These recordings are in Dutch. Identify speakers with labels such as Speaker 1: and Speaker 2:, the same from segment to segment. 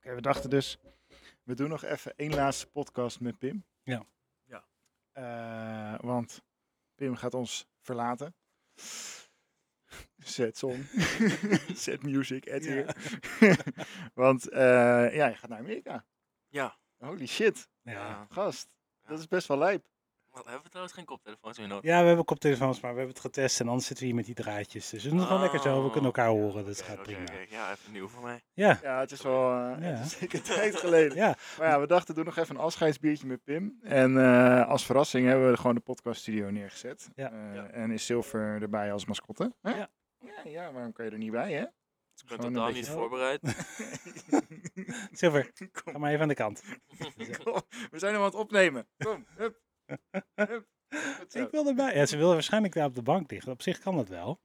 Speaker 1: we dachten dus, we doen nog even één laatste podcast met Pim.
Speaker 2: Ja.
Speaker 3: Ja.
Speaker 1: Eh, want Pim gaat ons verlaten. Zet on. Zet music, at
Speaker 2: Ja.
Speaker 1: here. want eh, ja, je gaat naar Amerika.
Speaker 3: Ja.
Speaker 1: Holy shit,
Speaker 2: Ja.
Speaker 3: Ah. Ja.
Speaker 1: gast. Dat is best wel lijp.
Speaker 3: Wel, hebben we trouwens geen koptelefoons meer nodig?
Speaker 2: ja, we hebben koptelefoons, maar we hebben het getest en anders zitten we hier met die draadjes. Dus we doen het gewoon lekker zo, we
Speaker 3: Oh.
Speaker 2: kunnen elkaar horen, dat
Speaker 3: Oké,
Speaker 2: gaat
Speaker 3: oké,
Speaker 2: prima.
Speaker 3: oké. Ja, even nieuw voor mij.
Speaker 2: Ja,
Speaker 1: Ja, het is wel eh,
Speaker 2: Ja.
Speaker 1: het is zeker tijd geleden.
Speaker 2: ja,
Speaker 1: Maar ja, we dachten, doe nog even een afscheidsbiertje met Pim. En eh, als verrassing hebben we gewoon de podcaststudio neergezet.
Speaker 2: Ja.
Speaker 1: Eh,
Speaker 3: Ja.
Speaker 1: En is Silver erbij als mascotte. Hè?
Speaker 2: Ja.
Speaker 1: Ja, ja, waarom kan je er niet bij, hè?
Speaker 3: Ik ben
Speaker 1: Gewoon een
Speaker 3: totaal
Speaker 1: beetje-
Speaker 3: niet voorbereid.
Speaker 2: Silver,
Speaker 1: Kom,
Speaker 2: ga maar even aan de kant.
Speaker 1: kom, we zijn hem aan het opnemen. Kom, hup, hup. Goed zo.
Speaker 2: Ik wil erbij. Ja, ze willen waarschijnlijk daar op de bank liggen. Op zich kan dat wel.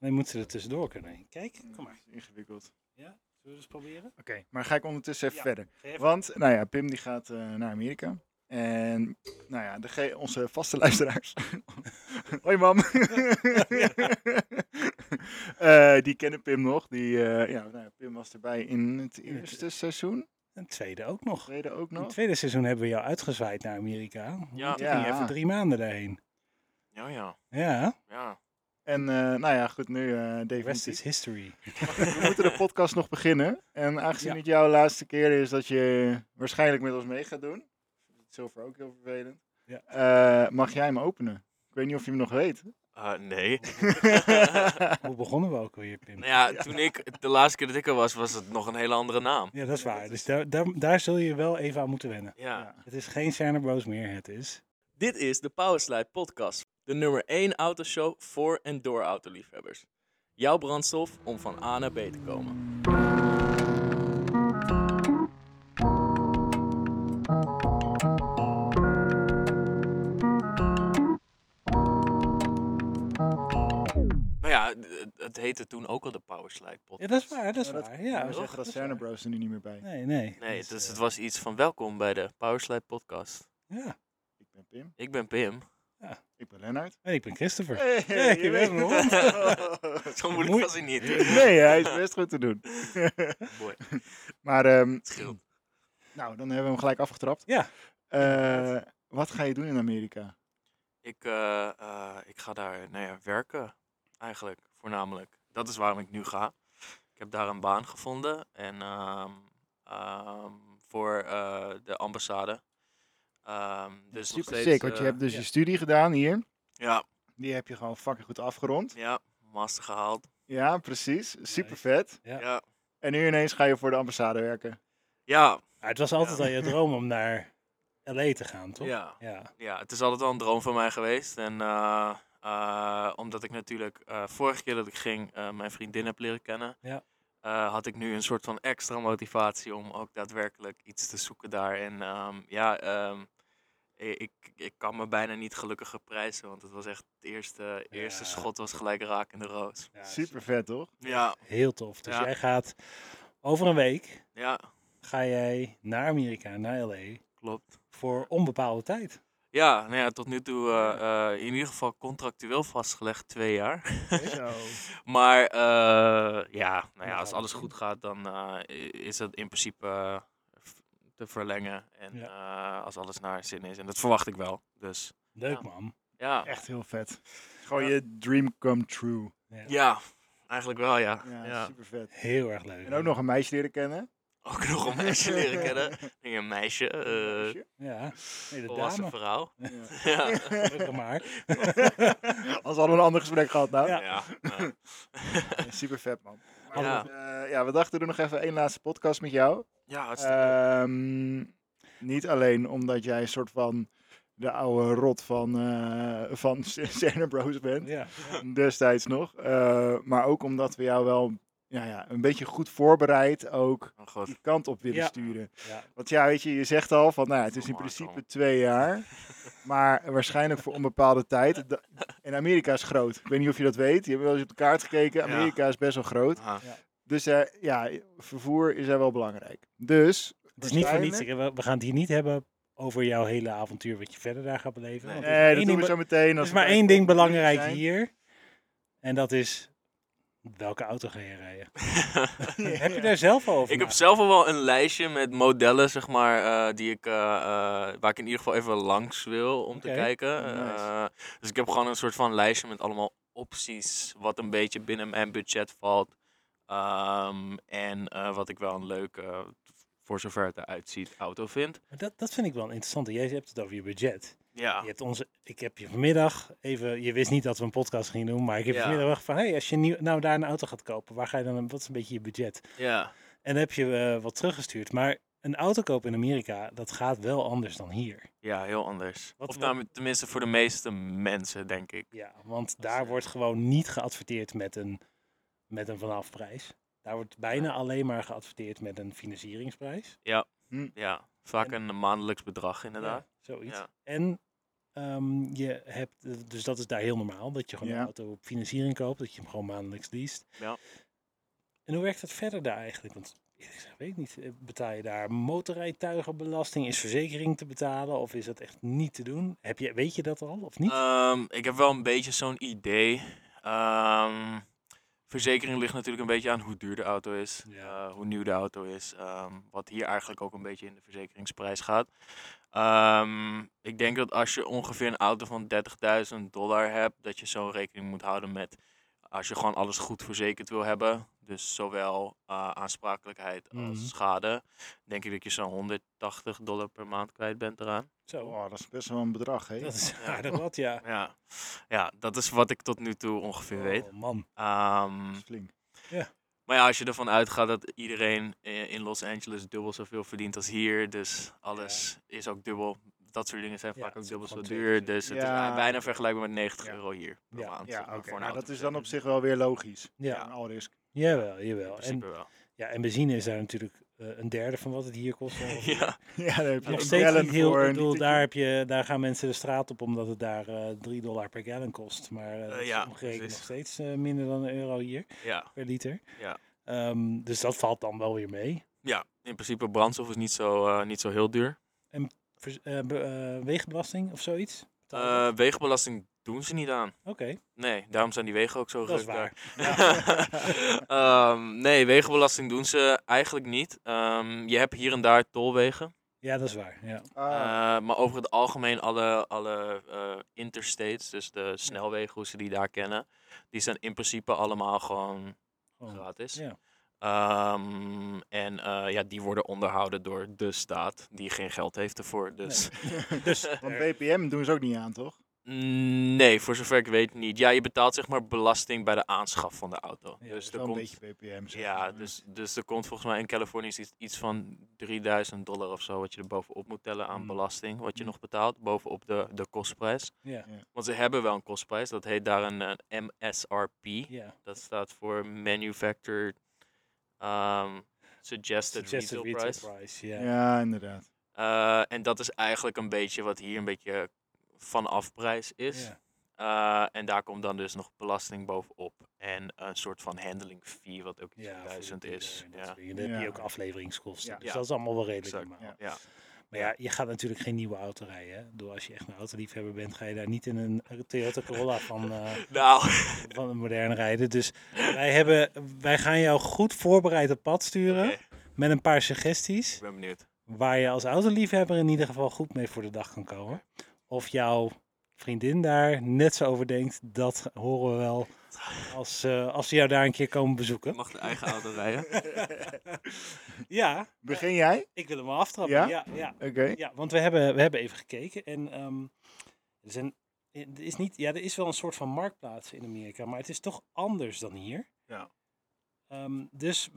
Speaker 2: Alleen moeten ze er tussendoor kunnen. heen. Kijk, kom maar.
Speaker 1: Ingewikkeld. Oké,
Speaker 2: Zullen we eens proberen?
Speaker 1: maar ga ik ondertussen even
Speaker 2: Ja.
Speaker 1: verder.
Speaker 2: Even.
Speaker 1: Want, nou ja, Pim die gaat eh, naar Amerika. En, nou ja, de ge- onze vaste luisteraars. Hoi, mam. Eh, die kennen Pim nog. Die, eh, ja, nou ja, Pim was erbij in het eerste seizoen.
Speaker 2: Een tweede ook nog.
Speaker 1: Tweede ook
Speaker 2: In het
Speaker 1: nog.
Speaker 2: tweede seizoen hebben we jou uitgezwaaid naar Amerika.
Speaker 3: Ja.
Speaker 2: Toen ging je
Speaker 1: Ja.
Speaker 2: even drie maanden daarheen.
Speaker 3: Ja, ja.
Speaker 2: Ja,
Speaker 3: Ja.
Speaker 1: En, eh, nou ja, goed, nu eh
Speaker 2: de rest
Speaker 1: definitief.
Speaker 2: is history.
Speaker 1: We moeten de podcast nog beginnen. En aangezien
Speaker 2: Ja.
Speaker 1: het jouw laatste keer is dat je waarschijnlijk met ons mee gaat doen. Dat is zilver ook heel vervelend.
Speaker 2: Ja.
Speaker 1: eh, mag jij hem openen? Ik weet niet of je hem nog weet.
Speaker 3: Eh, nee.
Speaker 2: Hoe begonnen we ook alweer, Pim?
Speaker 3: Nou ja, toen ik de laatste keer dat ik er was, was het nog een hele andere naam.
Speaker 2: Ja, dat is waar. Dus daar, daar, daar zul je wel even aan moeten wennen.
Speaker 3: Ja.
Speaker 2: Het is geen Santa Bros meer, het is.
Speaker 3: Dit is de Powerslide Podcast, de nummer 1 autoshow voor en door autoliefhebbers. Jouw brandstof om van A naar B te komen. Nou ja, d- het heette toen ook al de Powerslide
Speaker 2: Ja,
Speaker 3: Podcast.
Speaker 2: dat is waar, dat is
Speaker 1: Ja, dat-
Speaker 2: waar. Ja,
Speaker 1: we
Speaker 3: toch?
Speaker 1: zeggen dat
Speaker 2: is
Speaker 1: Cerner
Speaker 2: waar.
Speaker 1: Bros er nu niet meer bij.
Speaker 2: Nee, nee.
Speaker 3: Nee,
Speaker 2: Dus,
Speaker 3: dus het
Speaker 2: eh,
Speaker 3: was iets van welkom bij de Powerslide Podcast.
Speaker 2: Ja,
Speaker 1: Ik ben Pim.
Speaker 3: Ik ben Pim.
Speaker 1: Ik ben Lennart.
Speaker 2: en ik ben Christopher.
Speaker 1: Hey,
Speaker 2: je
Speaker 1: je
Speaker 2: weet
Speaker 1: weet
Speaker 2: hem,
Speaker 3: Zo moeilijk
Speaker 2: Moe-
Speaker 3: was hij niet.
Speaker 1: Nee, hij is best goed te doen.
Speaker 3: Mooi.
Speaker 1: maar, ehm,
Speaker 3: Het scheelt.
Speaker 1: nou, dan hebben we hem gelijk afgetrapt.
Speaker 2: Ja.
Speaker 1: Eh, wat ga je doen in Amerika?
Speaker 3: Ik, eh, eh, ik ga daar nou ja, werken, eigenlijk, voornamelijk. Dat is waarom ik nu ga. Ik heb daar een baan gevonden en ehm, ehm, voor eh, de ambassade. Ehm, dus nog
Speaker 1: Super
Speaker 3: steeds,
Speaker 1: sick, want je
Speaker 3: eh,
Speaker 1: hebt dus
Speaker 2: ja.
Speaker 1: je studie gedaan hier.
Speaker 3: ja,
Speaker 1: Die heb je gewoon fucking goed afgerond.
Speaker 3: ja, master gehaald.
Speaker 1: Ja, precies. Super vet.
Speaker 2: Ja.
Speaker 3: Ja,
Speaker 1: En nu ineens ga je voor de ambassade werken.
Speaker 3: ja,
Speaker 2: Maar het was altijd
Speaker 3: Ja.
Speaker 2: al je droom om naar L.A. te gaan, toch?
Speaker 3: ja.
Speaker 2: Ja.
Speaker 3: ja, het is altijd wel een droom van mij geweest. En eh, eh, omdat ik natuurlijk eh, vorige keer dat ik ging eh, mijn vriendin heb leren kennen,
Speaker 2: Ja.
Speaker 3: eh, had ik nu een soort van extra motivatie om ook daadwerkelijk iets te zoeken daar. En ehm, ja, ehm, i- ik, ik kan me bijna niet gelukkiger prijzen, want het was echt het eerste, eerste
Speaker 2: Ja.
Speaker 3: schot was gelijk raak in de roos.
Speaker 2: Ja,
Speaker 1: Super vet, toch?
Speaker 3: Ja,
Speaker 2: Dus Heel tof. Dus
Speaker 3: Ja.
Speaker 2: jij gaat over een week
Speaker 3: ja,
Speaker 2: ga jij naar Amerika, naar L.A.
Speaker 3: klopt.
Speaker 2: voor onbepaalde tijd.
Speaker 3: Ja, nou ja, tot nu toe eh, eh, in ieder geval contractueel vastgelegd twee jaar.
Speaker 1: Zo.
Speaker 3: Maar eh, ja, nou ja,
Speaker 2: gaan
Speaker 3: als
Speaker 2: we
Speaker 3: alles
Speaker 2: zien.
Speaker 3: goed gaat, dan eh, i- is dat in principe eh, f- te verlengen. En eh, als alles naar zin is. En dat verwacht ik wel. Dus
Speaker 2: Leuk
Speaker 3: Ja.
Speaker 2: man.
Speaker 3: ja,
Speaker 1: Echt heel vet. Gewoon je dream come true.
Speaker 3: ja eigenlijk wel, ja.
Speaker 1: Ja,
Speaker 3: ja.
Speaker 1: super vet.
Speaker 2: Heel erg leuk.
Speaker 1: En ook nog een meisje leren kennen.
Speaker 3: Ook nog een meisje leren kennen. Een meisje, eh
Speaker 2: Ja, nee, de
Speaker 3: volwassen
Speaker 2: dame.
Speaker 3: vrouw.
Speaker 1: Ja.
Speaker 3: Ja,
Speaker 2: Gelukkig maar.
Speaker 1: Als we al een ander gesprek gehad nou.
Speaker 2: Ja.
Speaker 3: ja. nou,
Speaker 1: Super vet man. Maar
Speaker 3: Ja.
Speaker 1: goed, eh, ja, we dachten doen nog even één laatste podcast met jou.
Speaker 3: ja, hartstikke leuk.
Speaker 1: Ehm, niet alleen omdat jij een soort van de oude rot van, eh van Cerner Bros bent,
Speaker 2: Ja.
Speaker 1: destijds nog. eh, maar ook omdat we jou wel ja, ja, een beetje goed voorbereid ook
Speaker 3: Oh, God.
Speaker 1: die kant op willen
Speaker 2: Ja.
Speaker 1: sturen.
Speaker 2: Ja.
Speaker 1: Want ja, weet je, je zegt al van, nou ja, het is in
Speaker 3: Normaal
Speaker 1: principe
Speaker 3: kan.
Speaker 1: twee jaar, maar waarschijnlijk voor onbepaalde tijd. Da- En Amerika is groot. Ik weet niet of je dat weet. Je hebt wel eens op de kaart gekeken.
Speaker 3: Ja.
Speaker 1: Amerika is best wel groot.
Speaker 3: Ah,
Speaker 1: Dus eh, ja, vervoer is daar wel belangrijk. Dus
Speaker 2: Het is niet voor niets.
Speaker 1: Waarschijnlijk.
Speaker 2: We we gaan het hier niet hebben over jouw hele avontuur wat je verder daar gaat beleven.
Speaker 3: Nee.
Speaker 2: want er is
Speaker 1: Nee, dus dat
Speaker 2: één
Speaker 1: doen
Speaker 2: ding
Speaker 1: we
Speaker 2: be-
Speaker 1: zo meteen.
Speaker 2: Er
Speaker 1: als
Speaker 2: is
Speaker 1: we
Speaker 2: maar
Speaker 1: bij
Speaker 2: één ding
Speaker 1: Popcorn
Speaker 2: belangrijk
Speaker 1: zijn.
Speaker 2: hier. En dat is Welke auto ga je rijden?
Speaker 3: Ah.
Speaker 1: Ja.
Speaker 2: Heb je daar zelf al over?
Speaker 3: Ik heb
Speaker 2: nagedacht?
Speaker 3: zelf al wel een lijstje met modellen, zeg maar, eh, die ik, eh, eh, waar ik in ieder geval even langs wil om te
Speaker 2: Oké.
Speaker 3: kijken.
Speaker 1: Nice.
Speaker 3: Eh, dus ik heb gewoon een soort van lijstje met allemaal opties, wat een beetje binnen mijn budget valt. Ehm, en eh, wat ik wel een leuke, voor zover het eruit ziet, auto vind.
Speaker 2: Maar Dat, dat vind ik wel interessant. Jij hebt het over je budget.
Speaker 3: Ja,
Speaker 2: Je hebt onze, ik heb je vanmiddag even... Je wist niet dat we een podcast gingen doen, maar ik heb je
Speaker 3: Ja.
Speaker 2: vanmiddag wel van... Hey, als je nieuw, nou daar een auto gaat kopen, waar ga je dan... een- Wat is een beetje je budget?
Speaker 3: ja,
Speaker 2: En dan heb je eh, wat teruggestuurd. Maar een auto kopen in Amerika, dat gaat wel anders dan hier.
Speaker 3: ja, heel anders.
Speaker 2: Wat-
Speaker 3: of nou, tenminste voor de meeste mensen, denk ik.
Speaker 2: Ja, want
Speaker 3: Dat is,
Speaker 2: daar
Speaker 3: eh,
Speaker 2: wordt gewoon niet geadverteerd met een, met een vanafprijs. Daar wordt bijna alleen maar geadverteerd met een financieringsprijs.
Speaker 3: Ja, vaak een maandelijks bedrag inderdaad.
Speaker 2: Ja, zoiets.
Speaker 3: Ja.
Speaker 2: En ehm, je hebt, eh, dus dat is daar heel normaal, dat je gewoon
Speaker 1: Ja.
Speaker 2: een auto op financiering koopt, dat je hem gewoon maandelijks leest.
Speaker 3: Ja.
Speaker 2: En hoe werkt dat verder daar eigenlijk? Want eerlijk gezegd weet ik niet, Eh, betaal je daar motorrijtuigenbelasting? Is verzekering te betalen of is dat echt niet te doen? Heb je, weet je dat al of niet?
Speaker 3: Ehm, ik heb wel een beetje zo'n idee. Ehm, verzekering ligt natuurlijk een beetje aan hoe duur de auto is,
Speaker 2: Ja.
Speaker 3: eh, hoe nieuw de auto is. ehm, wat hier eigenlijk ook een beetje in de verzekeringsprijs gaat. Ehm, ik denk dat als je ongeveer een auto van 30.000 dollar hebt, dat je zo'n rekening moet houden met als je gewoon alles goed verzekerd wil hebben. Dus zowel eh, aansprakelijkheid als
Speaker 2: Mhm.
Speaker 3: schade. Denk ik dat je zo'n 180 dollar per maand kwijt bent eraan.
Speaker 2: Zo,
Speaker 1: Oh, dat is best wel een bedrag, hè?
Speaker 2: dat is aardig wat, ja.
Speaker 3: Ja, ja dat is wat ik tot nu toe ongeveer weet.
Speaker 2: Oh, man,
Speaker 3: Ehm,
Speaker 1: Dat is flink.
Speaker 3: maar ja, als je ervan uitgaat dat iedereen eh, in Los Angeles dubbel zoveel verdient als hier, dus alles is ook dubbel. Dat soort dingen zijn
Speaker 2: Ja,
Speaker 3: vaak
Speaker 2: het
Speaker 3: ook
Speaker 2: is
Speaker 3: dubbel zo
Speaker 2: gewoon
Speaker 3: duur,
Speaker 2: 20%.
Speaker 3: dus het
Speaker 1: Ja.
Speaker 3: is bijna vergelijkbaar met 90
Speaker 2: Ja.
Speaker 3: euro hier per
Speaker 2: Ja.
Speaker 3: maand.
Speaker 1: Ja,
Speaker 3: zeg maar,
Speaker 1: oké.
Speaker 3: voor een
Speaker 1: Nou, dat
Speaker 3: auto
Speaker 1: is dan op
Speaker 3: verzekering.
Speaker 1: zich wel weer logisch.
Speaker 2: ja.
Speaker 1: Een All risk.
Speaker 2: Jawel,
Speaker 3: In
Speaker 2: jawel. En,
Speaker 3: principe wel.
Speaker 2: ja, en benzine is daar natuurlijk eh, een derde van wat het hier kost. ongeveer.
Speaker 3: Ja,
Speaker 1: Ja, daar heb je
Speaker 2: Nog
Speaker 1: een
Speaker 2: steeds
Speaker 1: gallon
Speaker 2: niet heel,
Speaker 1: voor.
Speaker 2: ik
Speaker 1: en
Speaker 2: bedoel,
Speaker 1: die-
Speaker 2: daar, heb je, daar gaan mensen de straat op omdat het daar eh 3 dollar per gallon kost. Maar eh, dat is
Speaker 3: ja,
Speaker 2: omgerekend nog
Speaker 3: precies.
Speaker 2: steeds eh, minder dan een euro hier
Speaker 3: ja,
Speaker 2: per liter.
Speaker 3: Ja.
Speaker 2: Ehm, dus dat valt dan wel weer mee.
Speaker 3: ja. In principe brandstof is niet zo, eh, niet zo heel duur.
Speaker 2: Vers- eh, be- eh, wegenbelasting of zoiets? Betaal je dat?
Speaker 3: Eh, wegenbelasting doen ze niet aan.
Speaker 2: Oké,
Speaker 3: Nee, daarom zijn die wegen ook zo
Speaker 2: dat is
Speaker 3: druk daar.
Speaker 2: waar.
Speaker 3: Ehm, nee, wegenbelasting doen ze eigenlijk niet. Ehm, je hebt hier en daar tolwegen.
Speaker 2: Ja, dat is waar. Ja.
Speaker 1: Ah,
Speaker 3: Eh, maar over het algemeen alle, alle eh, interstates, dus de snelwegen hoe ze die daar kennen, die zijn in principe allemaal gewoon
Speaker 2: Gewoon.
Speaker 3: gratis.
Speaker 2: Oh. ja.
Speaker 3: Ehm, en eh, ja, die worden onderhouden door de staat, die geen geld heeft ervoor. Dus
Speaker 2: Dus
Speaker 1: want
Speaker 2: er-
Speaker 1: BPM doen ze ook niet aan, toch?
Speaker 3: nee, voor zover ik weet niet. Ja, je betaalt zeg maar belasting bij de aanschaf van de auto.
Speaker 2: Ja, dat
Speaker 3: dus
Speaker 1: Dus
Speaker 3: er
Speaker 1: wel
Speaker 3: komt
Speaker 1: een beetje BPM. zeg
Speaker 3: Ja,
Speaker 1: maar.
Speaker 3: dus, dus er komt volgens mij in Californië is iets, iets van 3000 dollar of zo, wat je er bovenop moet tellen aan
Speaker 2: Mm.
Speaker 3: belasting, wat je
Speaker 1: Mm.
Speaker 3: nog betaalt, bovenop de, de kostprijs.
Speaker 2: ja,
Speaker 3: Want ze hebben wel een kostprijs, dat heet daar een, eh, MSRP.
Speaker 2: ja.
Speaker 3: Dat staat voor Manufacturer ehm, Suggested,
Speaker 2: Suggested
Speaker 3: Retail,
Speaker 2: retail
Speaker 3: Price.
Speaker 2: price. Ja.
Speaker 1: Ja, inderdaad.
Speaker 3: Eh, en dat is eigenlijk een beetje wat hier een beetje vanaf prijs is.
Speaker 2: Ja.
Speaker 3: Eh, en daar komt dan dus nog belasting bovenop. En een soort van handling fee, wat ook iets
Speaker 2: Ja,
Speaker 3: van
Speaker 2: voor de
Speaker 3: 1000
Speaker 2: dealer
Speaker 3: is.
Speaker 2: en dat
Speaker 3: Ja.
Speaker 2: soort dingen. Dan heb je
Speaker 1: Ja.
Speaker 2: ook afleveringskosten.
Speaker 1: Ja.
Speaker 2: Dus
Speaker 3: Ja.
Speaker 2: dat is allemaal wel redelijk
Speaker 3: Exact,
Speaker 2: normaal.
Speaker 1: ja.
Speaker 3: Ja.
Speaker 2: Maar ja, je gaat natuurlijk geen nieuwe auto rijden. hè. Ik bedoel, als je echt een autoliefhebber bent, ga je daar niet in een Toyota Corolla van, eh,
Speaker 3: Nou,
Speaker 2: van een modern rijden. Dus wij, hebben, wij gaan jou goed voorbereid op pad sturen
Speaker 3: oké,
Speaker 2: met een paar suggesties.
Speaker 3: ik ben benieuwd.
Speaker 2: Waar je als autoliefhebber in ieder geval goed mee voor de dag kan komen. Of jouw vriendin daar net zo over denkt, dat horen we wel als, eh, als ze jou daar een keer komen bezoeken.
Speaker 3: Mag de eigen auto rijden?
Speaker 2: Ja,
Speaker 1: Begin jij?
Speaker 2: ik wil hem wel aftrappen.
Speaker 1: Ja?
Speaker 2: ja, ja.
Speaker 1: Oké.
Speaker 2: Ja, want we hebben, we hebben even gekeken en ehm, er, zijn, eh, er, is niet, ja, er is wel een soort van marktplaats in Amerika, maar het is toch anders dan hier.
Speaker 1: Ja.
Speaker 2: Ehm, dus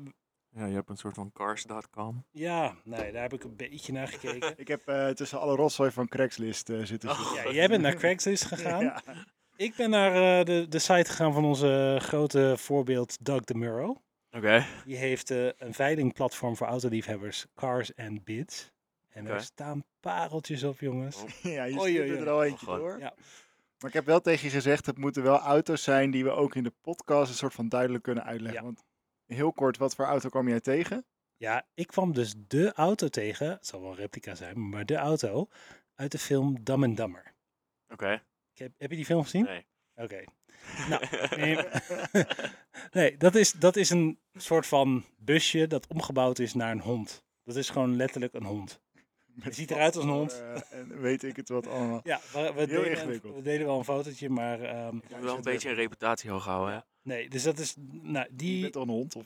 Speaker 3: Ja, je hebt een soort van cars.com.
Speaker 2: ja, nee, daar heb ik een beetje naar gekeken.
Speaker 1: Ik heb eh, tussen alle rotzooi van Craigslist eh, zitten
Speaker 3: Oh.
Speaker 1: zoeken.
Speaker 2: Ja, jij bent naar Craigslist gegaan.
Speaker 1: Ja.
Speaker 2: Ik ben naar eh, de, de site gegaan van onze eh, grote voorbeeld Doug DeMuro.
Speaker 3: Oké.
Speaker 2: Die heeft eh, een veilingplatform voor autoliefhebbers, Cars and Bids. En daar
Speaker 3: Oké.
Speaker 2: staan pareltjes op, jongens.
Speaker 3: Oh.
Speaker 1: Ja, je
Speaker 2: Oei, oei,
Speaker 1: stuurde
Speaker 2: oei.
Speaker 1: er al eentje
Speaker 3: God.
Speaker 1: door.
Speaker 2: Ja.
Speaker 1: Maar ik heb wel tegen je gezegd, het moeten wel auto's zijn die we ook in de podcast een soort van duidelijk kunnen uitleggen.
Speaker 2: Ja.
Speaker 1: Want heel kort, wat voor auto kwam jij tegen?
Speaker 2: Ja, ik kwam dus de auto tegen. Het zal wel een replica zijn, maar de auto uit de film Dam en Dammer.
Speaker 3: Oké.
Speaker 2: Ik Heb, heb je die film gezien?
Speaker 3: Nee.
Speaker 2: Oké. Nee, nee dat, is, dat is een soort van busje dat omgebouwd is naar een hond. Dat is gewoon letterlijk een hond.
Speaker 1: Met
Speaker 2: ziet eruit als een hond.
Speaker 1: eh, en weet ik het wat allemaal.
Speaker 2: Ja, we, we,
Speaker 1: Heel
Speaker 2: delen,
Speaker 1: ingewikkeld.
Speaker 2: een- we delen wel een fotootje, maar ehm,
Speaker 3: Ik moet wel een beetje een reputatie hoog houden, hè?
Speaker 2: nee. Dus dat is, nou,
Speaker 1: Je
Speaker 2: die...
Speaker 1: bent al een hond, of?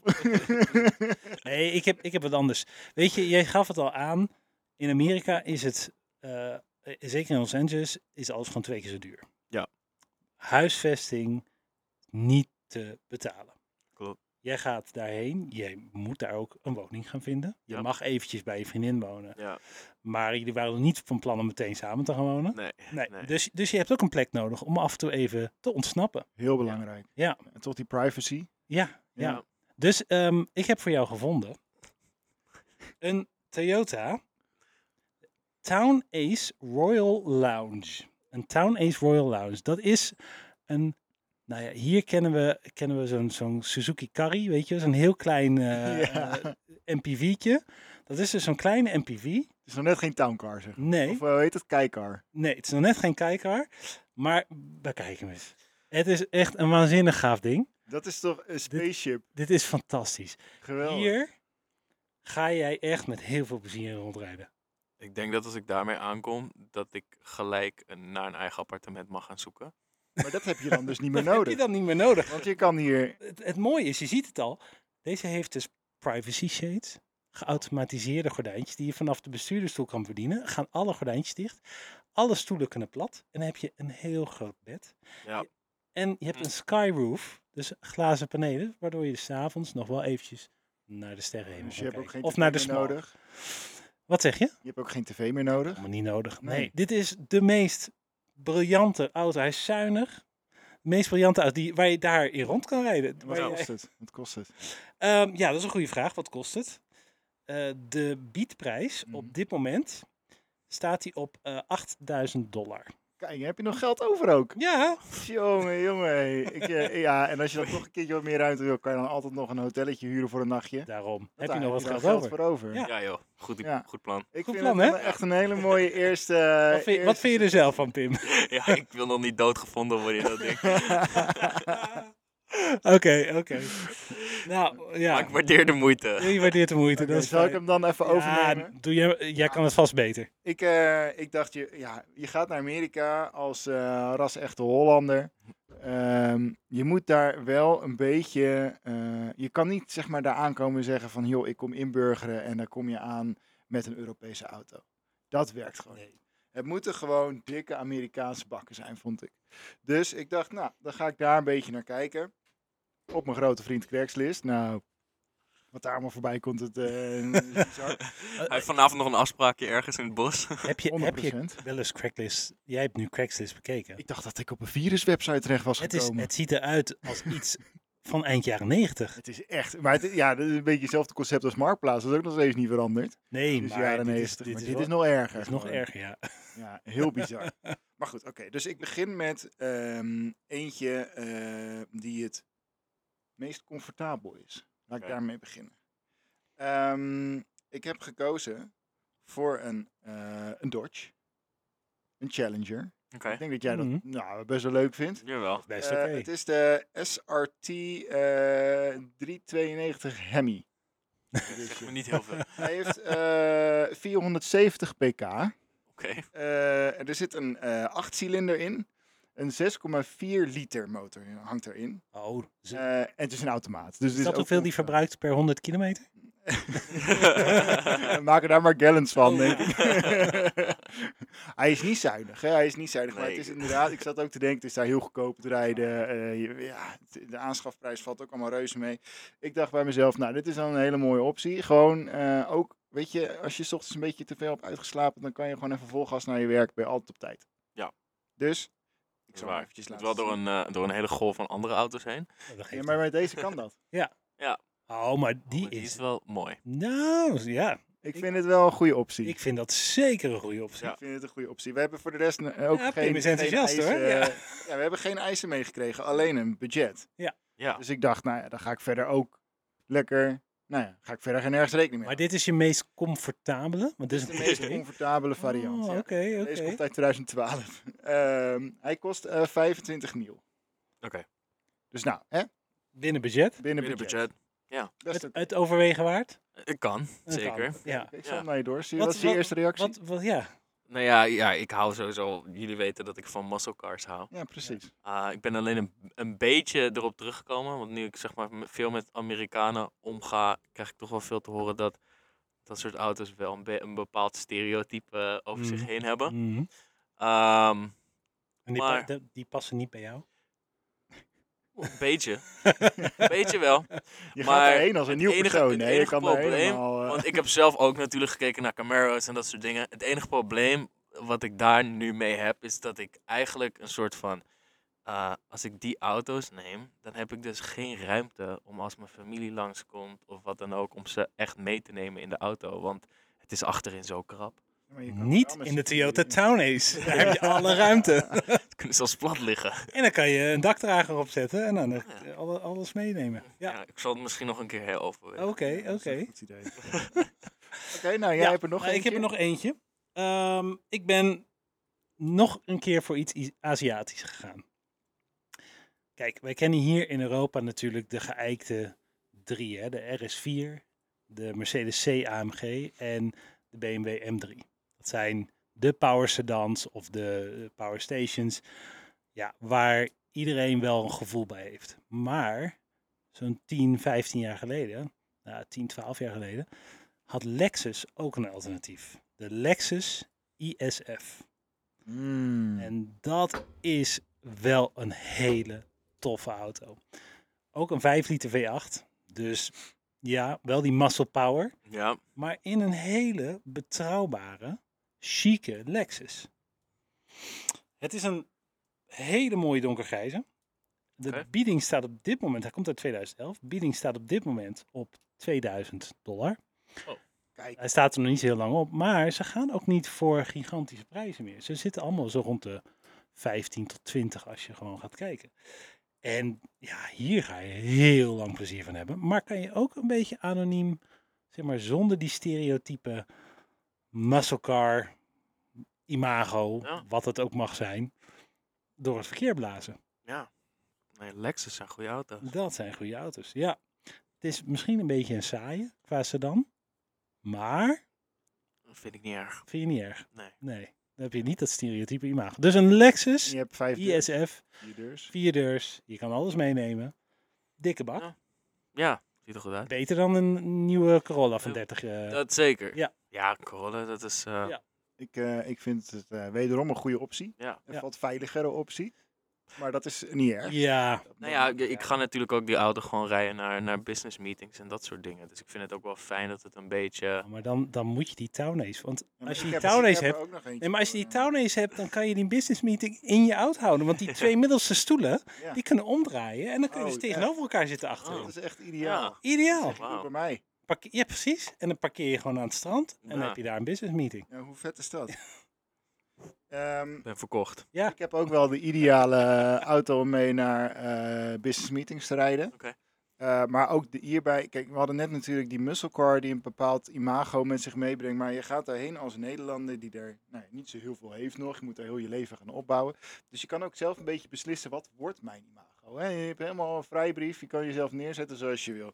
Speaker 2: Nee, ik heb, ik heb wat anders. Weet je, jij gaf het al aan. In Amerika is het, eh, eh, zeker in Los Angeles, is alles gewoon twee keer zo duur.
Speaker 3: Ja.
Speaker 2: Huisvesting niet te betalen.
Speaker 3: Klopt.
Speaker 2: Jij gaat daarheen, jij moet daar ook een woning gaan vinden. Je
Speaker 3: Ja.
Speaker 2: mag eventjes bij je vriendin wonen.
Speaker 3: Ja,
Speaker 2: Maar jullie waren niet van plan om meteen samen te gaan wonen.
Speaker 3: nee.
Speaker 2: Nee,
Speaker 3: nee.
Speaker 2: Dus, dus je hebt ook een plek nodig om af en toe even te ontsnappen.
Speaker 1: Heel belangrijk.
Speaker 2: Ja.
Speaker 1: En tot die privacy.
Speaker 2: Ja, ja.
Speaker 1: Ja.
Speaker 2: Dus ehm, ik heb voor jou gevonden een Toyota Town Ace Royal Lounge. Een Town Ace Royal Lounge. Dat is een, nou ja, hier kennen we, kennen we zo'n zo'n Suzuki Carry, weet je, zo'n heel klein eh
Speaker 1: Ja.
Speaker 2: eh, MPV'tje. Dat is dus zo'n kleine MPV.
Speaker 1: Het is nog net geen towncar, zeg.
Speaker 2: Nee.
Speaker 1: Of eh, hoe heet het? Kijkcar.
Speaker 2: Nee, het is nog net geen kijker, maar bekijken we het. Het is echt een waanzinnig gaaf ding.
Speaker 1: Dat is toch een spaceship?
Speaker 2: Dit is fantastisch.
Speaker 1: Geweldig.
Speaker 2: Hier ga jij echt met heel veel plezier rondrijden.
Speaker 3: Ik denk dat als ik daarmee aankom, dat ik gelijk een, naar een eigen appartement mag gaan zoeken.
Speaker 1: Maar dat heb je dan dus niet meer
Speaker 2: Dat heb je
Speaker 1: nodig.
Speaker 2: dan niet meer nodig.
Speaker 1: Want je kan hier...
Speaker 2: Het, het mooie is, je ziet het al, deze heeft dus privacy shades. Geautomatiseerde gordijntjes die je vanaf de bestuurdersstoel kan bedienen. Gaan alle gordijntjes dicht. Alle stoelen kunnen plat. En dan heb je een heel groot bed.
Speaker 3: Ja,
Speaker 2: En je hebt
Speaker 1: Hm.
Speaker 2: een skyroof, dus glazen panelen, waardoor je s'avonds nog wel eventjes naar de sterrenhemel
Speaker 1: Dus je
Speaker 2: kan
Speaker 1: hebt ook
Speaker 2: kijken.
Speaker 1: geen
Speaker 2: Of
Speaker 1: tv
Speaker 2: naar de
Speaker 1: meer
Speaker 2: smal.
Speaker 1: nodig.
Speaker 2: Wat zeg je?
Speaker 1: Je hebt ook geen tv meer nodig.
Speaker 2: Helemaal niet nodig. Nee.
Speaker 1: Nee.
Speaker 2: dit is de meest briljante auto. Hij is zuinig. De meest briljante auto die, waar je daar in rond kan rijden.
Speaker 1: En
Speaker 2: Waar
Speaker 1: Wat
Speaker 2: je-
Speaker 1: kost het? Wat kost het?
Speaker 2: Ehm, ja, dat is een goede vraag. Wat kost het? Eh, de biedprijs
Speaker 1: Mhm.
Speaker 2: op dit moment staat die op eh 8000 dollar.
Speaker 1: Kijk, heb je nog geld over ook?
Speaker 2: Ja,
Speaker 1: Jongen, jongen. Ik, eh, ja, en als je dan toch een keertje wat meer ruimte wil, kan je dan altijd nog een hotelletje huren voor een nachtje.
Speaker 2: daarom.
Speaker 1: Dat
Speaker 2: heb je nog
Speaker 1: daar
Speaker 2: wat
Speaker 1: daar
Speaker 2: geld over?
Speaker 1: voor over.
Speaker 2: Ja.
Speaker 3: ja joh, goed,
Speaker 1: Ja.
Speaker 3: goed plan.
Speaker 1: Ik
Speaker 2: Goed
Speaker 1: vind
Speaker 2: plan,
Speaker 1: het
Speaker 2: hè?
Speaker 1: wel echt een hele mooie eerste...
Speaker 2: Wat vind, wat vind je er zelf van, Pim?
Speaker 3: Ja, ik wil nog niet doodgevonden worden in dat ding.
Speaker 2: Oké, oké. Nou, ja.
Speaker 3: Maar ik waardeer de moeite.
Speaker 2: Je waardeert de moeite. dat is
Speaker 1: zal ik
Speaker 2: fijn.
Speaker 1: hem dan even overnemen?
Speaker 2: Ja, doe jij, jij kan het vast beter.
Speaker 1: Ik, eh, ik dacht, je, ja, je gaat naar Amerika als eh, ras-echte Hollander. Ehm, je moet daar wel een beetje... eh, je kan niet zeg maar, daar aankomen en zeggen van... joh, ik kom inburgeren en dan kom je aan met een Europese auto. Dat werkt gewoon niet. Het moeten gewoon dikke Amerikaanse bakken zijn, vond ik. Dus ik dacht, nou, dan ga ik daar een beetje naar kijken. Op mijn grote vriend Craigslist. Nou, wat daar allemaal voorbij komt, het eh, is bizar.
Speaker 3: Hij heeft vanavond nog een afspraakje ergens in het bos.
Speaker 2: Heb je, heb je
Speaker 1: 100%.
Speaker 2: wel eens Craigslist? Jij hebt nu Craigslist bekeken.
Speaker 1: Ik dacht dat ik op een viruswebsite terecht was
Speaker 2: Het, is,
Speaker 1: gekomen.
Speaker 2: het ziet eruit als iets van eind jaren negentig.
Speaker 1: het is echt. Maar het, ja, dat is een beetje hetzelfde concept als Marktplaats. Dat is ook nog steeds niet veranderd.
Speaker 2: Nee,
Speaker 1: Dus
Speaker 2: maar
Speaker 1: jaren
Speaker 2: dit is,
Speaker 1: 90.
Speaker 2: dit is,
Speaker 1: maar dit
Speaker 2: wel-
Speaker 1: is nog erger.
Speaker 2: dit is nog
Speaker 1: gewoon.
Speaker 2: erger, ja.
Speaker 1: Ja, heel bizar. maar goed, oké. Dus ik begin met ehm, eentje eh, die het meest comfortabel is. Laat ik
Speaker 3: Oké.
Speaker 1: daarmee beginnen. Ehm, ik heb gekozen voor een, eh, een Dodge. Een Challenger.
Speaker 3: Oké,
Speaker 1: Ik denk dat jij dat
Speaker 2: Mhm.
Speaker 1: nou, best wel leuk vindt.
Speaker 3: jawel.
Speaker 2: Best
Speaker 1: Eh,
Speaker 2: oké.
Speaker 1: Het is de SRT eh, 392 Hemi.
Speaker 3: Dat zegt me niet heel veel. Oké.
Speaker 1: Hij heeft eh, 470 pk. Eh, en er zit een eh achtcilinder in. Een 6,4 liter motor hangt erin.
Speaker 2: Oh, is, is
Speaker 1: Eh, en het is een automaat. Dus het
Speaker 2: dat
Speaker 1: ook
Speaker 2: hoeveel die
Speaker 1: ongeveer-
Speaker 2: verbruikt per 100 kilometer?
Speaker 1: We maken daar maar gallons
Speaker 3: Oh,
Speaker 1: van, denk ik. hij is niet zuinig, hè? Hij is niet zuinig. Maar
Speaker 3: Nee.
Speaker 1: het is inderdaad, ik zat ook te denken, het is daar heel goedkoop te rijden. Eh, je- ja, het- de aanschafprijs valt ook allemaal reuze mee. Ik dacht bij mezelf, nou, dit is dan een hele mooie optie. Gewoon eh, ook, weet je, als je 's ochtends een beetje te veel hebt uitgeslapen, dan kan je gewoon even vol gas naar je werk. Ben je altijd op tijd.
Speaker 3: Ja.
Speaker 1: Dus, ik
Speaker 3: Dat is
Speaker 1: zal hem
Speaker 3: waar.
Speaker 1: eventjes
Speaker 3: Het
Speaker 1: laten
Speaker 3: wel door
Speaker 1: zien.
Speaker 3: een, eh, door een hele golf van andere auto's heen.
Speaker 2: Nou, dat
Speaker 1: Ja,
Speaker 2: geeft
Speaker 1: maar met deze kan dat.
Speaker 2: niet. Oh, maar die
Speaker 3: Maar die is
Speaker 2: is...
Speaker 3: wel mooi.
Speaker 2: Nou, ja.
Speaker 1: Ik vind het wel een goede optie.
Speaker 2: Ik vind dat zeker een goede optie.
Speaker 3: Ja.
Speaker 1: Ik vind het een goede optie. We hebben voor de rest eh, ook
Speaker 2: Ja,
Speaker 1: geen,
Speaker 2: Pim is enthousiast,
Speaker 1: geen
Speaker 2: hoor.
Speaker 1: eisen- eh,
Speaker 2: Ja.
Speaker 1: ja, we hebben geen eisen meegekregen, alleen een budget.
Speaker 3: Ja,
Speaker 1: Dus ik dacht, nou ja, dan ga ik verder ook lekker. Nou ja, ga ik verder geen nergens rekening mee.
Speaker 2: Maar dit is je meest comfortabele? Want dit is
Speaker 1: houden.
Speaker 2: een
Speaker 1: de meest
Speaker 2: comfortabele
Speaker 1: comfortabele variant.
Speaker 2: Oh,
Speaker 1: ja.
Speaker 2: Oké,
Speaker 1: Deze
Speaker 2: oké.
Speaker 1: komt uit 2012. Ehm, hij kost eh, 25 mil.
Speaker 3: Oké.
Speaker 1: Dus nou, hè?
Speaker 2: Binnen budget.
Speaker 1: binnen
Speaker 3: Binnen
Speaker 1: budget.
Speaker 3: budget. Eh,
Speaker 1: Dat is
Speaker 2: Het,
Speaker 1: de-
Speaker 2: het overwegen waard.
Speaker 3: Ik kan,
Speaker 2: Het
Speaker 3: zeker.
Speaker 2: kan. Ja.
Speaker 1: Ik zal
Speaker 3: Ja.
Speaker 1: hem naar je doorsturen. Wat
Speaker 2: Wat-
Speaker 1: is je
Speaker 2: wat-
Speaker 1: eerste reactie?
Speaker 2: Wat, wat, ja.
Speaker 3: Nou ja, ja, ik hou sowieso... Jullie weten dat ik van muscle cars hou.
Speaker 1: Ja, precies.
Speaker 3: Ah, ik ben alleen een, een beetje erop teruggekomen. Want nu ik zeg maar me- veel met Amerikanen omga, krijg ik toch wel veel te horen dat dat soort auto's wel een, be- een bepaald stereotype eh, over zich
Speaker 2: Mhm.
Speaker 3: heen hebben.
Speaker 2: Mhm.
Speaker 3: Ehm,
Speaker 2: En die,
Speaker 3: Maar-
Speaker 2: pa- de- die passen niet bij jou.
Speaker 3: een beetje. een beetje wel.
Speaker 1: Je
Speaker 3: Maar
Speaker 1: gaat erheen als een
Speaker 3: het
Speaker 1: nieuw
Speaker 3: enige-
Speaker 1: persoon.
Speaker 3: het
Speaker 1: Nee, je
Speaker 3: enige
Speaker 1: kan er
Speaker 3: probleem-
Speaker 1: helemaal... eh,
Speaker 3: Want ik heb zelf ook natuurlijk gekeken naar Camaro's en dat soort dingen. Het enige probleem wat ik daar nu mee heb, is dat ik eigenlijk een soort van... eh, als ik die auto's neem, dan heb ik dus geen ruimte om als mijn familie langskomt of wat dan ook, om ze echt mee te nemen in de auto. Want het is achterin zo krap.
Speaker 1: maar je kan er
Speaker 2: Niet
Speaker 1: wel met
Speaker 2: in de
Speaker 1: z'n vieren
Speaker 2: Toyota
Speaker 1: in.
Speaker 2: Town Ace. Daar heb je alle ruimte.
Speaker 3: Ze kunnen zelfs plat liggen.
Speaker 2: En dan kan je een dakdrager opzetten en dan echt, eh, alle- alles meenemen.
Speaker 3: Ja.
Speaker 2: Ja, Oh.
Speaker 3: ik zal het misschien nog een keer heel overwegen.
Speaker 2: oké, oké.
Speaker 4: dat is een goed idee.
Speaker 1: Oké, nou, jij
Speaker 2: Ja,
Speaker 1: hebt er nog
Speaker 2: maar
Speaker 1: één.
Speaker 2: Ik heb er nog eentje. Ehm, ik ben nog een keer voor iets I- Aziatisch gegaan. Kijk, wij kennen hier in Europa natuurlijk de geëikte drie. Hè? De RS4, de Mercedes C AMG en de BMW M3. Dat zijn de power sedans of de eh, power stations. Ja, waar iedereen wel een gevoel bij heeft. Maar zo'n 10, 15 jaar geleden, nou, 10, 12 jaar geleden had Lexus ook een alternatief. De Lexus ISF.
Speaker 1: Mm.
Speaker 2: En dat is wel een hele toffe auto. Ook een 5 liter V8. Dus ja, wel die muscle power.
Speaker 3: Ja,
Speaker 2: Maar in een hele betrouwbare, chique Lexus. Het is een hele mooie donkergrijze. De
Speaker 3: Oké.
Speaker 2: bieding staat op dit moment, hij komt uit 2011. Bieding staat op dit moment op 2000 dollar.
Speaker 3: Oh,
Speaker 1: kijk.
Speaker 2: Hij staat er nog niet zo heel lang op, maar ze gaan ook niet voor gigantische prijzen meer. Ze zitten allemaal zo rond de 15 tot 20 als je gewoon gaat kijken. En ja, hier ga je heel lang plezier van hebben. Maar kan je ook een beetje anoniem, zeg maar zonder die stereotype muscle car, imago,
Speaker 3: Ja.
Speaker 2: wat het ook mag zijn, door het verkeer blazen.
Speaker 3: ja. Nee, Lexus zijn goede auto's.
Speaker 2: Dat zijn goede auto's, ja. Het is misschien een beetje een saaie qua sedan, maar
Speaker 3: Dat vind ik niet erg.
Speaker 2: vind je niet erg.
Speaker 3: Nee.
Speaker 2: Nee, dan heb je niet dat stereotype imago. Dus een Lexus
Speaker 1: Je hebt vijf deur-
Speaker 2: ISF,
Speaker 1: vier deurs.
Speaker 2: vier deurs, je kan alles meenemen. Dikke bak.
Speaker 3: Ja. Ja, ziet er goed uit.
Speaker 2: Beter dan een nieuwe Corolla van
Speaker 3: Ja,
Speaker 2: 30. eh,
Speaker 3: Dat zeker.
Speaker 2: Ja.
Speaker 3: Ja, Corolla, dat is... eh,
Speaker 2: Ja.
Speaker 1: Ik, eh, ik vind het eh, wederom een goede optie.
Speaker 3: Ja.
Speaker 1: Een
Speaker 2: Ja.
Speaker 1: wat veiligere optie. Maar dat is niet erg.
Speaker 2: ja,
Speaker 1: Dat
Speaker 3: Nou
Speaker 1: mag
Speaker 3: ja,
Speaker 1: ook,
Speaker 3: ik, ik ga natuurlijk ook die auto gewoon rijden naar, naar business meetings en dat soort dingen. Dus ik vind het ook wel fijn dat het een beetje...
Speaker 2: maar dan, dan moet je die Townace. Want
Speaker 1: Ja, maar
Speaker 2: als je
Speaker 1: ik
Speaker 2: die
Speaker 1: heb- ik
Speaker 2: Townace
Speaker 1: heb er
Speaker 2: hebt...
Speaker 1: ook nog eentje
Speaker 2: Nee, maar als je die
Speaker 1: voor, eh,
Speaker 2: Townace hebt, dan kan je die business meeting in je auto houden. Want die twee middelste stoelen,
Speaker 1: Ja.
Speaker 2: die kunnen omdraaien. En dan kun je
Speaker 1: Oh,
Speaker 2: dus
Speaker 1: ja.
Speaker 2: tegenover elkaar zitten achter.
Speaker 1: eh,
Speaker 3: Oh.
Speaker 1: Dat is echt ideaal.
Speaker 3: Ja.
Speaker 2: Ideaal.
Speaker 1: Goed
Speaker 3: Wauw.
Speaker 1: bij mij.
Speaker 2: Parkeer, ja, precies. En dan parkeer je gewoon aan het strand. En dan
Speaker 3: Ja.
Speaker 2: heb je daar een business meeting.
Speaker 1: Ja, hoe vet is dat? Ehm,
Speaker 3: Ik ben verkocht.
Speaker 1: ik heb ook wel de ideale eh, auto om mee naar eh, business meetings te rijden.
Speaker 3: Oké.
Speaker 1: Eh, maar ook de, hierbij, kijk, we hadden net natuurlijk die muscle car die een bepaald imago met zich meebrengt. Maar je gaat daarheen als Nederlander die er nou, niet zo heel veel heeft nog. Je moet daar heel je leven gaan opbouwen. Dus je kan ook zelf een beetje beslissen, wat wordt mijn imago? Hè? Je hebt helemaal een vrijbrief, je kan jezelf neerzetten zoals je wil.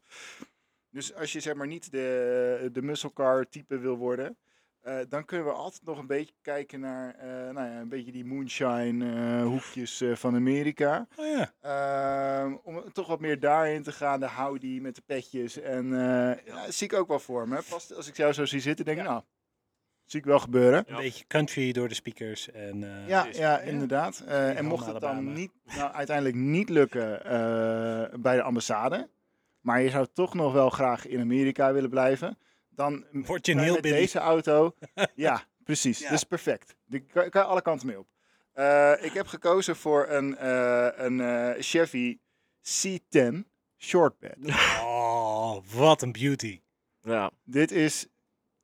Speaker 1: Dus als je zeg maar niet de, de muscle car type wil worden, eh, dan kunnen we altijd nog een beetje kijken naar eh, nou ja, een beetje die moonshine eh, hoekjes eh, van Amerika.
Speaker 2: Oh ja.
Speaker 1: Ehm, om toch wat meer daarin te gaan, de howdy met de petjes. En eh, ja, dat zie ik ook wel voor me. Pas als ik jou zo zie zitten, denk ik, nou, zie ik wel gebeuren.
Speaker 2: Een
Speaker 3: Ja.
Speaker 2: beetje country door de speakers. En, eh,
Speaker 1: Ja,
Speaker 3: precies.
Speaker 1: ja, inderdaad. Eh, en
Speaker 2: Helemaal
Speaker 1: mocht het dan
Speaker 2: Alabama.
Speaker 1: niet, nou, uiteindelijk niet lukken eh, bij de ambassade, maar je zou toch nog wel graag in Amerika willen blijven, dan
Speaker 2: Word je een
Speaker 1: bij
Speaker 2: heel
Speaker 1: met
Speaker 2: Billy.
Speaker 1: deze auto. ja, precies.
Speaker 2: Ja.
Speaker 1: Dat is perfect. Daar kan, kan je alle kanten mee op. Eh, ik heb gekozen voor een, eh, een eh, Chevy C10 Shortbed.
Speaker 2: Oh, wat een beauty.
Speaker 3: Ja.
Speaker 1: Dit is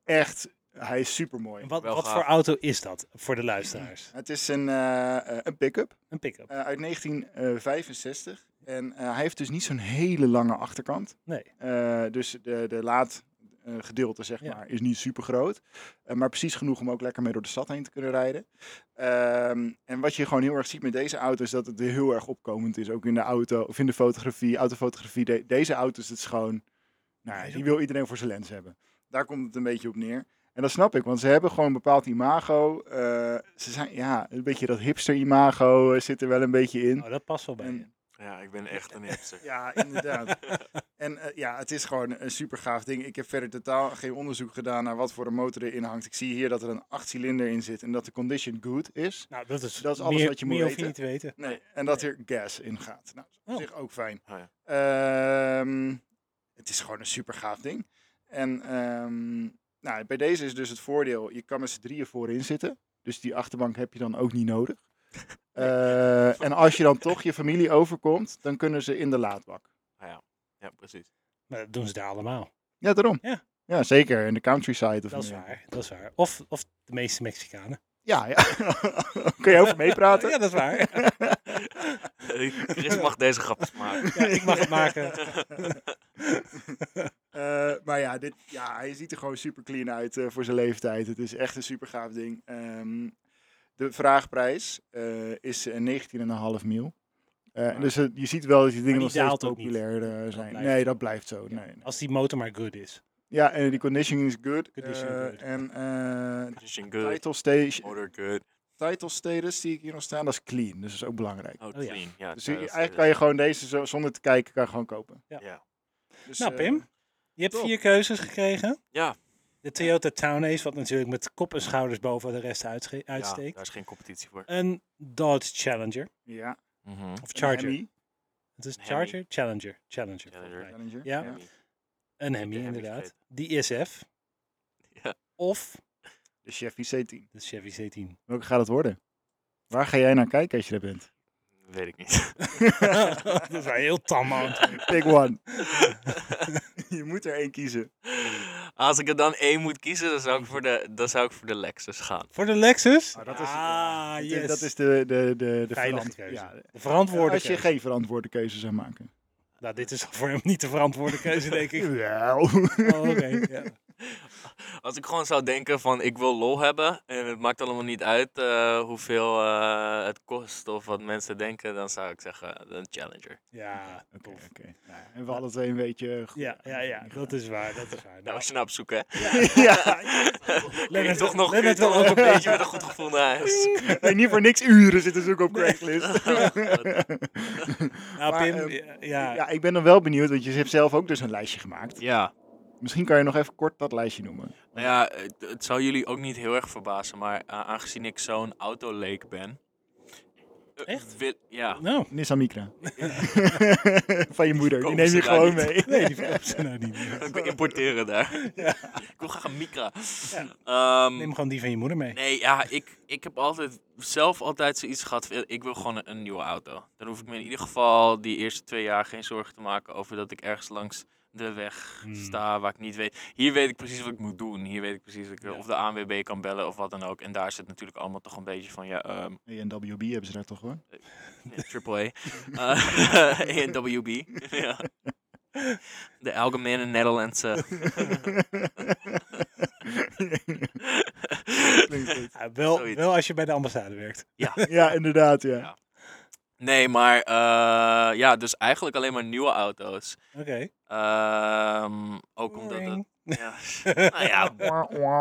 Speaker 1: echt, hij is super mooi.
Speaker 2: Wat,
Speaker 3: Wel
Speaker 2: wat
Speaker 3: gaaf.
Speaker 2: voor auto is dat voor de luisteraars?
Speaker 1: Het is een, eh, eh, een pick-up
Speaker 2: Een pick-up?
Speaker 1: eh, uit 1965. En eh, hij heeft dus niet zo'n hele lange achterkant.
Speaker 2: Nee.
Speaker 1: Eh, dus de, de laad, eh, gedeelte, zeg
Speaker 2: Ja.
Speaker 1: maar, is niet super groot. Eh, maar precies genoeg om ook lekker mee door de stad heen te kunnen rijden. Ehm, en wat je gewoon heel erg ziet met deze auto is dat het heel erg opkomend is. Ook in de auto, of in de fotografie, autofotografie. De- deze auto's, het is gewoon, nou, die wil iedereen voor zijn lens hebben. Daar komt het een beetje op neer. En dat snap ik, want ze hebben gewoon een bepaald imago. Eh, ze zijn, ja, een beetje dat hipster-imago eh, zit er wel een beetje in.
Speaker 2: Oh, dat past wel bij
Speaker 1: En-
Speaker 2: je.
Speaker 3: Ja, ik ben echt een hipster.
Speaker 1: Ja, inderdaad. en eh, ja, het is gewoon een super gaaf ding. Ik heb verder totaal geen onderzoek gedaan naar wat voor een motor erin hangt. Ik zie hier dat er een 8 cilinder in zit en dat de condition good is.
Speaker 2: Nou, dat is,
Speaker 1: Dat is alles
Speaker 2: meer,
Speaker 1: wat je moet
Speaker 2: meer hoef je
Speaker 1: weten.
Speaker 2: niet te weten.
Speaker 1: Nee, en dat er gas in gaat. Nou, dat is op
Speaker 2: Oh.
Speaker 1: zich ook fijn.
Speaker 3: Oh ja.
Speaker 1: Ehm, het is gewoon een super gaaf ding. En ehm, nou, bij deze is dus het voordeel, je kan met z'n drieën voorin zitten. Dus die achterbank heb je dan ook niet nodig. Eh, en als je dan toch je familie overkomt, dan kunnen ze in de laadbak.
Speaker 3: ja, precies.
Speaker 2: Maar Nou, dat doen ze daar allemaal.
Speaker 1: Ja, daarom.
Speaker 2: Ja.
Speaker 1: ja zeker. In de countryside. Of
Speaker 2: Dat is
Speaker 1: meer.
Speaker 2: waar, dat is waar. Of, of de meeste Mexicanen.
Speaker 1: Ja, ja. Kun je over meepraten?
Speaker 2: Ja, dat is waar.
Speaker 3: Chris mag deze grapjes maken.
Speaker 2: Ja, ik mag het maken.
Speaker 1: Eh, maar ja, dit, ja, hij ziet er gewoon super clean uit eh, voor zijn leeftijd. Het is echt een super gaaf ding. Ehm, de vraagprijs eh, is eh, 19,5 mil. Eh,
Speaker 3: Maar-
Speaker 1: dus eh, je ziet wel dat die dingen
Speaker 2: Ah. die
Speaker 1: nog steeds
Speaker 2: daalt ook niet.
Speaker 1: populair eh, zijn.
Speaker 2: blijft
Speaker 1: nee,
Speaker 2: zo.
Speaker 1: dat blijft zo. Nee, nee.
Speaker 2: Als die motor maar good is.
Speaker 1: Ja, en die conditioning is good.
Speaker 2: Conditioning
Speaker 1: eh,
Speaker 2: good.
Speaker 1: En eh
Speaker 3: Position good,
Speaker 1: title, stage,
Speaker 3: motor good,
Speaker 1: title status die ik hier nog staan, dat is clean. Dus dat is ook belangrijk.
Speaker 3: out
Speaker 2: Oh ja.
Speaker 3: clean. Ja,
Speaker 1: Dus
Speaker 3: dat
Speaker 1: je-
Speaker 3: is- eh,
Speaker 1: eigenlijk kan je gewoon deze zo- zonder te kijken kan je gewoon kopen.
Speaker 2: Ja.
Speaker 3: Ja.
Speaker 1: Dus,
Speaker 2: nou,
Speaker 1: eh,
Speaker 2: Pim, je hebt
Speaker 1: top.
Speaker 2: vier keuzes gekregen.
Speaker 3: Ja.
Speaker 2: De Toyota Town Ace, wat natuurlijk met kop en schouders boven de rest uitsche-
Speaker 3: ja,
Speaker 2: uitsteekt.
Speaker 3: daar is geen competitie voor.
Speaker 2: een Dodge Challenger.
Speaker 1: ja, een
Speaker 3: Mhm.
Speaker 2: Of Charger.
Speaker 1: Hemi,
Speaker 2: Het is
Speaker 3: Een Hemi.
Speaker 2: Charger? Challenger. Challenger.
Speaker 3: Challenger.
Speaker 2: volgens mij.
Speaker 1: Challenger,
Speaker 2: Ja.
Speaker 3: Hemi.
Speaker 2: Een Hemi,
Speaker 3: De Hemi
Speaker 2: inderdaad.
Speaker 3: vergeten.
Speaker 2: Die ISF.
Speaker 3: Ja.
Speaker 2: Of
Speaker 1: De Chevy C10.
Speaker 2: de Chevy C10.
Speaker 1: Welke gaat het worden? Waar ga jij naar kijken als je er bent?
Speaker 3: Weet ik niet.
Speaker 2: dat is wel heel tam, man.
Speaker 1: Pick one. je moet er één kiezen.
Speaker 3: Als ik er dan één moet kiezen, dan zou ik voor de, dan zou ik voor de Lexus gaan.
Speaker 2: Voor de Lexus?
Speaker 1: Ah, dat is-
Speaker 2: ah,
Speaker 1: Dat
Speaker 2: yes.
Speaker 1: is- Dat is de, de, de, de
Speaker 2: Veilige
Speaker 1: verant-
Speaker 2: keuze.
Speaker 1: Ja.
Speaker 2: de verantwoorde
Speaker 1: Als je
Speaker 2: keuze.
Speaker 1: geen verantwoorde keuze zou maken.
Speaker 2: Nou, dit is voor hem niet de verantwoorde keuze, denk ik.
Speaker 1: Wel.
Speaker 2: Oh, oké. ja.
Speaker 3: Als ik gewoon zou denken van ik wil lol hebben en het maakt allemaal niet uit eh, hoeveel eh, het kost of wat mensen denken, dan zou ik zeggen eh, een Challenger.
Speaker 2: Ja,
Speaker 1: Oké,
Speaker 2: tof.
Speaker 1: oké. Nou, en we alle twee een beetje... eh, goed-
Speaker 2: Ja, ja, ja, dat is waar, dat is waar.
Speaker 3: Daar
Speaker 2: Nou,
Speaker 3: was je naar op zoek, hè?
Speaker 1: ja.
Speaker 3: Kun je
Speaker 2: Lennart-
Speaker 3: toch nog kun je
Speaker 2: Lennart wil
Speaker 3: toch nog
Speaker 2: ook-
Speaker 3: een beetje met een goed gevoel naar huis.
Speaker 1: En niet voor niks uren zitten zoeken op Craigslist.
Speaker 2: nou,
Speaker 1: maar,
Speaker 2: Pim,
Speaker 1: ehm,
Speaker 2: ja, ja,
Speaker 1: Ja, ik ben dan wel benieuwd, want je hebt zelf ook dus een lijstje gemaakt.
Speaker 3: Ja,
Speaker 1: Misschien kan je nog even kort dat lijstje noemen.
Speaker 3: nou ja, het, het zou jullie ook niet heel erg verbazen, maar eh, aangezien ik zo'n autoleek ben. eh,
Speaker 2: Echt?
Speaker 3: wil- ja.
Speaker 2: nou,
Speaker 1: Nissan Micra. Van je moeder. Die
Speaker 3: verkopen
Speaker 1: neem
Speaker 3: ze
Speaker 1: je
Speaker 3: daar
Speaker 1: gewoon
Speaker 3: niet.
Speaker 1: mee.
Speaker 2: nee, die verkoopt ze nou niet.
Speaker 3: We importeren daar. ik wil graag een Micra. Ehm,
Speaker 2: Neem gewoon die van je moeder mee.
Speaker 3: Nee, ja, ik, ik heb altijd zelf altijd zoiets gehad. van, Ik wil gewoon een, een nieuwe auto. Dan hoef ik me in ieder geval die eerste twee jaar geen zorgen te maken over dat ik ergens langs de weg
Speaker 2: Hmm.
Speaker 3: sta waar ik niet weet. Hier weet ik precies wat ik moet doen. Hier weet ik precies wat ik,
Speaker 2: Ja.
Speaker 3: of de ANWB kan bellen of wat dan ook. En daar zit natuurlijk allemaal toch een beetje van ja, ehm,
Speaker 1: En WB hebben ze daar toch hoor.
Speaker 3: ja, Triple A. Eh, ANWB. ja. De Algemene Nederlandse.
Speaker 1: Klinkt goed.
Speaker 2: Ja, wel,
Speaker 3: zoiets.
Speaker 2: wel als je bij de ambassade werkt.
Speaker 1: Ja, inderdaad, ja.
Speaker 3: Nee, maar eh, ja, dus eigenlijk alleen maar nieuwe auto's.
Speaker 2: Oké.
Speaker 3: Ehm, ook omdat het,
Speaker 2: Boring.
Speaker 3: ja, nou ja,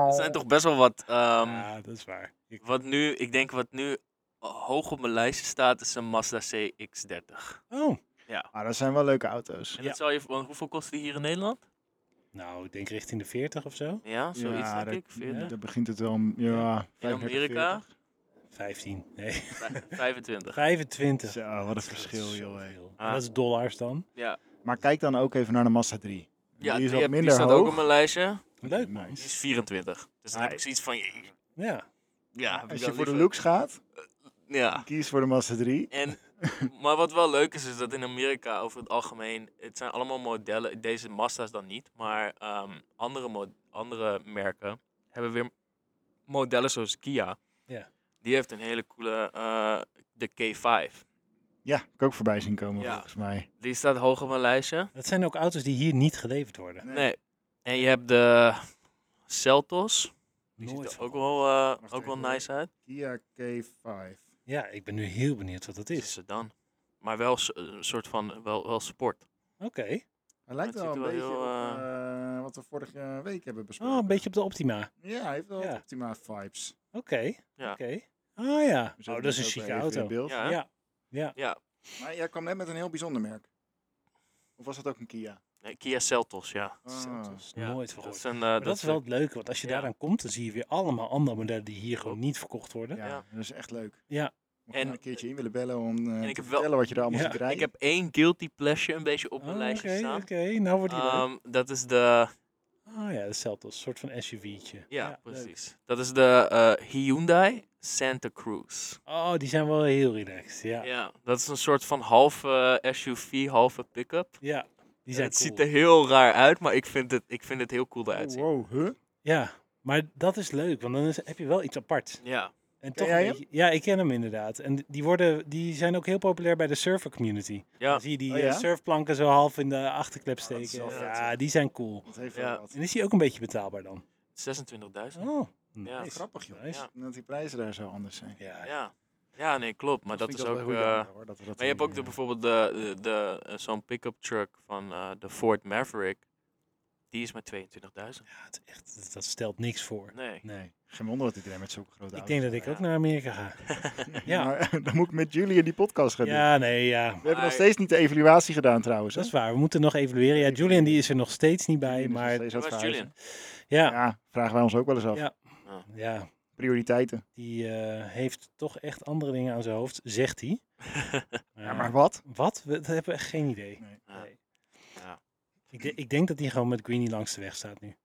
Speaker 3: er zijn toch best wel wat, ehm,
Speaker 2: ja, dat is waar. Ik-
Speaker 3: wat nu, ik denk wat nu hoog op mijn lijstje staat, is een Mazda CX-30.
Speaker 2: Oh,
Speaker 1: Maar Ah, dat zijn wel leuke auto's.
Speaker 3: En
Speaker 2: Ja.
Speaker 3: dat zou je, want hoeveel kost die hier in Nederland?
Speaker 2: nou, ik denk richting de 40 of zo.
Speaker 3: Ja, zoiets
Speaker 1: ja,
Speaker 3: denk ik, 40,
Speaker 1: daar begint het wel om, ja, 35,
Speaker 3: Amerika?
Speaker 2: 15. Nee,
Speaker 3: 25.
Speaker 2: 25.
Speaker 1: 40. Zo, oh, wat een
Speaker 2: Dat is
Speaker 1: verschil, joh. hé.
Speaker 2: zoveel.
Speaker 3: Ah.
Speaker 2: Dat is dollars dan.
Speaker 3: Ja,
Speaker 1: Maar kijk dan ook even naar de Mazda 3. die
Speaker 3: ja die,
Speaker 1: is wat
Speaker 3: heb- die
Speaker 1: minder
Speaker 3: staat ook
Speaker 1: hoog.
Speaker 3: op mijn lijstje.
Speaker 2: Leuk.
Speaker 3: Die
Speaker 1: Nice.
Speaker 3: is 24. Dus dan
Speaker 1: Maar-
Speaker 3: heb ik zoiets van, ja,
Speaker 2: Ja.
Speaker 3: ja heb ik
Speaker 1: Als je
Speaker 3: dan
Speaker 1: voor de
Speaker 3: liever-
Speaker 1: looks gaat,
Speaker 3: Ja.
Speaker 1: kies voor de Mazda 3.
Speaker 3: En, maar wat wel leuk is, is dat in Amerika over het algemeen, het zijn allemaal modellen, deze Mazda's dan niet, maar ehm, andere, mo- andere merken hebben weer modellen zoals Kia.
Speaker 2: Ja.
Speaker 3: Die heeft een hele coole, eh, de K5.
Speaker 1: Ja, kan ik ook voorbij zien komen
Speaker 3: Ja.
Speaker 1: volgens mij.
Speaker 3: Die staat hoog op mijn lijstje.
Speaker 2: Dat zijn ook auto's die hier niet geleverd worden.
Speaker 3: Nee, En je hebt de Celtos. Die
Speaker 2: Nooit
Speaker 3: ziet er
Speaker 2: van
Speaker 3: ook wel, eh,
Speaker 1: Wacht
Speaker 3: ook wel
Speaker 1: even hoor.
Speaker 3: nice uit.
Speaker 1: Kia K5.
Speaker 2: Ja, ik ben nu heel benieuwd wat dat
Speaker 3: Dit is
Speaker 2: is.
Speaker 3: ze dan. Maar wel s- een soort van wel, wel sport.
Speaker 2: Oké.
Speaker 1: Hij lijkt
Speaker 3: Het
Speaker 1: wel een
Speaker 3: ziet er
Speaker 1: beetje
Speaker 3: wel
Speaker 1: op
Speaker 3: heel,
Speaker 1: eh, wat we vorige week hebben besproken.
Speaker 2: Oh, een beetje op de Optima. Oké.
Speaker 1: Ja, hij heeft wel
Speaker 2: Ja.
Speaker 1: optima vibes.
Speaker 2: Oké.
Speaker 3: Ja.
Speaker 2: Ah ja.
Speaker 1: We
Speaker 2: Oh,
Speaker 1: zetten
Speaker 2: dat is een
Speaker 1: dit ook
Speaker 2: chique
Speaker 1: even in
Speaker 2: auto.
Speaker 1: beeld.
Speaker 3: Ja, hè?
Speaker 2: Ja.
Speaker 3: ja.
Speaker 1: Maar jij kwam net met een heel bijzonder merk. Of was dat ook een Kia?
Speaker 3: Eh, Kia Celtos, ja.
Speaker 1: Ah.
Speaker 2: Celtos.
Speaker 3: Ja,
Speaker 2: Nooit
Speaker 3: Dat
Speaker 2: verhoord.
Speaker 3: is, een, eh,
Speaker 2: Maar dat is wel het leuke, want als je
Speaker 3: ja.
Speaker 2: daaraan komt, dan zie je weer allemaal andere modellen die hier gewoon
Speaker 3: Klopt.
Speaker 2: niet verkocht worden.
Speaker 1: Ja,
Speaker 3: Ja.
Speaker 1: dat is echt leuk.
Speaker 2: Ja.
Speaker 1: Mocht je
Speaker 3: En-
Speaker 1: en, een keertje in willen bellen om eh,
Speaker 3: ik
Speaker 1: te
Speaker 3: heb wel-
Speaker 1: vertellen wat je er allemaal
Speaker 2: Ja,
Speaker 1: ziet rijden.
Speaker 3: Ik heb één guilty pleasure een beetje op
Speaker 2: Oh,
Speaker 3: mijn
Speaker 2: Oké,
Speaker 3: lijstje staan.
Speaker 2: oké. nou wordt die leuk.
Speaker 3: Ehm, dat is de...
Speaker 2: Ah ja, hetzelfde. Een soort van SUV'tje.
Speaker 3: Ja,
Speaker 2: leuk.
Speaker 3: precies. Dat is de eh, Hyundai Santa Cruz.
Speaker 2: Oh, die zijn wel heel relaxed. Ja,
Speaker 3: Ja.
Speaker 2: ja.
Speaker 3: dat is een soort van halve eh, SUV, halve pick-up.
Speaker 2: die zijn
Speaker 3: het ziet
Speaker 2: cool.
Speaker 3: er heel raar uit, maar ik vind het, ik vind het heel cool eruit
Speaker 1: Oh,
Speaker 3: zien.
Speaker 1: wow, huh?
Speaker 2: Ja, maar dat is leuk, want dan is, heb je wel iets apart.
Speaker 3: Ja,
Speaker 2: En
Speaker 1: Ken
Speaker 2: toch
Speaker 1: jij
Speaker 2: een
Speaker 1: hem?
Speaker 2: beetje- Ja, ik ken hem inderdaad. En die, worden, die zijn ook heel populair bij de surfer community.
Speaker 3: ja.
Speaker 2: Dan zie je die
Speaker 1: Oh, ja?
Speaker 2: eh, surfplanken zo half in de achterklep
Speaker 1: dat is
Speaker 2: steken.
Speaker 1: wel vet,
Speaker 2: ja,
Speaker 1: zeg.
Speaker 2: die zijn cool.
Speaker 1: Dat heeft
Speaker 3: Ja.
Speaker 1: wel wat.
Speaker 2: En is die ook een beetje betaalbaar dan?
Speaker 3: 26.000.
Speaker 2: Oh,
Speaker 3: Ja.
Speaker 2: nice.
Speaker 1: Grappig joh.
Speaker 2: Nice.
Speaker 3: Ja.
Speaker 1: Dat die prijzen daar zo anders zijn.
Speaker 2: Ja.
Speaker 3: Ja. ja, nee, klopt. Maar dat,
Speaker 1: vind
Speaker 3: is
Speaker 1: ik
Speaker 3: ook...
Speaker 1: wel heel
Speaker 3: eh,
Speaker 1: jammer, hoor, dat we dat
Speaker 3: maar je hebt
Speaker 1: dan
Speaker 3: ook de,
Speaker 1: niet, eh,
Speaker 3: bijvoorbeeld de, de, de, eh, zo'n pick-up truck van eh, de Ford Maverick. Die is maar 22.000.
Speaker 2: Ja, het is echt, dat- dat stelt niks voor.
Speaker 3: Nee.
Speaker 2: Nee.
Speaker 1: Geen wonder dat iedereen met zulke grote
Speaker 2: Ik
Speaker 1: auto's...
Speaker 2: denk dat ik
Speaker 3: ja.
Speaker 2: ook naar Amerika ga. Ja.
Speaker 1: Maar, dan moet ik met jullie die podcast gaan doen.
Speaker 2: Ja, nee, ja.
Speaker 1: We hebben nog
Speaker 3: Maar-
Speaker 1: steeds niet de evaluatie gedaan trouwens. hè?
Speaker 2: Dat is waar. We moeten nog evalueren. Ja, Julian die is er nog steeds niet bij.
Speaker 1: Jullie zijn
Speaker 2: Maar
Speaker 1: steeds aan
Speaker 3: Waar
Speaker 1: het
Speaker 3: is
Speaker 1: verhuizen.
Speaker 3: Julian?
Speaker 2: ja,
Speaker 1: Ja, vragen wij ons ook wel eens af.
Speaker 2: Ja. ja,
Speaker 1: Prioriteiten.
Speaker 2: die eh, heeft toch echt andere dingen aan zijn hoofd, zegt hij.
Speaker 1: Ja, maar wat?
Speaker 2: Wat? We, dat hebben we echt geen idee.
Speaker 1: Nee.
Speaker 3: Ja.
Speaker 2: Nee.
Speaker 3: Ja.
Speaker 2: Ik, de- ik denk dat hij gewoon met Greenie langs de weg staat nu.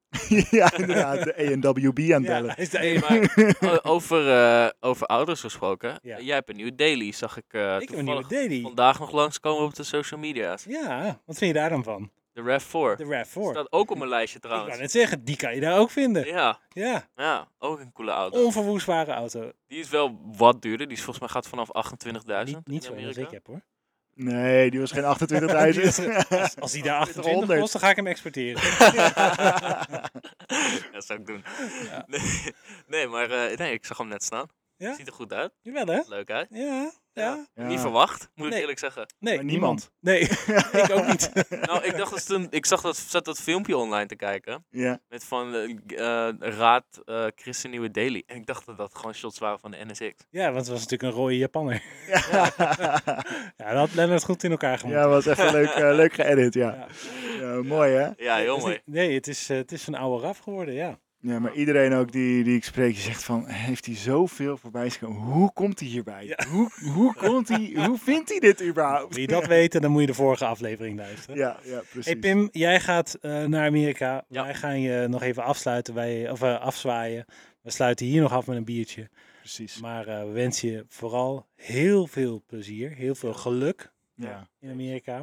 Speaker 1: ja, inderdaad. De ENWB aan het
Speaker 2: Ja,
Speaker 1: bellen.
Speaker 2: hij is de
Speaker 3: Hey,
Speaker 2: enige.
Speaker 3: maar o- over, eh, over ouders gesproken.
Speaker 2: Ja.
Speaker 3: Jij hebt een nieuwe daily, zag ik, eh
Speaker 2: ik heb een nieuwe
Speaker 3: toevallig
Speaker 2: daily.
Speaker 3: vandaag nog langskomen op de social media's.
Speaker 2: Ja, wat vind je daar dan van?
Speaker 3: De RAV4.
Speaker 2: De RAV4.
Speaker 3: Staat ook op mijn lijstje
Speaker 2: ik
Speaker 3: trouwens.
Speaker 2: kan net zeggen, die kan je daar ook vinden.
Speaker 3: Ja,
Speaker 2: Ja,
Speaker 3: ja, ook een coole auto.
Speaker 2: onverwoestbare auto.
Speaker 3: Die is wel wat duurder. Die is volgens mij gaat vanaf 28.000
Speaker 2: Niet, niet
Speaker 3: in
Speaker 2: zo als
Speaker 3: Amerika.
Speaker 2: ik heb hoor.
Speaker 1: Nee, die was geen 28.000.
Speaker 2: Die was Als, als die daar 28
Speaker 1: 100.
Speaker 2: kost, dan ga ik hem exporteren.
Speaker 3: dat zou ik doen.
Speaker 2: Ja.
Speaker 3: Nee, nee, maar eh, nee, ik zag hem net staan.
Speaker 2: Ja?
Speaker 3: Ziet er goed uit.
Speaker 2: Jawel hè?
Speaker 3: Leuk uit.
Speaker 2: Ja, ja.
Speaker 1: Ja.
Speaker 3: Niet verwacht, moet
Speaker 2: Nee.
Speaker 3: ik eerlijk zeggen.
Speaker 2: Nee,
Speaker 1: Maar
Speaker 2: niemand.
Speaker 1: niemand.
Speaker 2: Nee, ik ook niet.
Speaker 3: Nou, ik dacht dat toen, ik zag dat, zat dat filmpje online te kijken.
Speaker 1: ja.
Speaker 3: Met van eh, g- eh, Raad eh Christen Nieuwe Daily. En ik dacht dat dat gewoon shots waren van de NSX.
Speaker 2: Ja, want het was natuurlijk een rode Japanner.
Speaker 1: Ja.
Speaker 2: Ja, dat had Lennart goed in elkaar gemaakt.
Speaker 1: was even leuk, eh, leuk geëdit, ja.
Speaker 2: Ja.
Speaker 1: Ja, mooi hè?
Speaker 3: Ja, heel
Speaker 2: Dus
Speaker 3: mooi.
Speaker 2: die- nee, het is, eh, het is een oude RAF geworden, ja.
Speaker 1: Ja, maar iedereen ook die, die ik spreek, die zegt van, heeft hij zoveel voorbij zien komen? Hoe komt hij hierbij?
Speaker 2: Ja.
Speaker 1: Hoe, hoe komt hij, hoe vindt hij dit überhaupt?
Speaker 2: Wil je dat weten, dan moet je de vorige aflevering luisteren.
Speaker 1: Ja, ja, precies.
Speaker 2: Hey Pim, jij gaat eh, naar Amerika.
Speaker 3: Ja.
Speaker 2: Wij gaan je nog even afsluiten, wij, of eh, afzwaaien. We sluiten hier nog af met een biertje.
Speaker 1: precies.
Speaker 2: Maar eh, we wensen je vooral heel veel plezier, heel veel geluk
Speaker 1: Ja,
Speaker 2: in Amerika.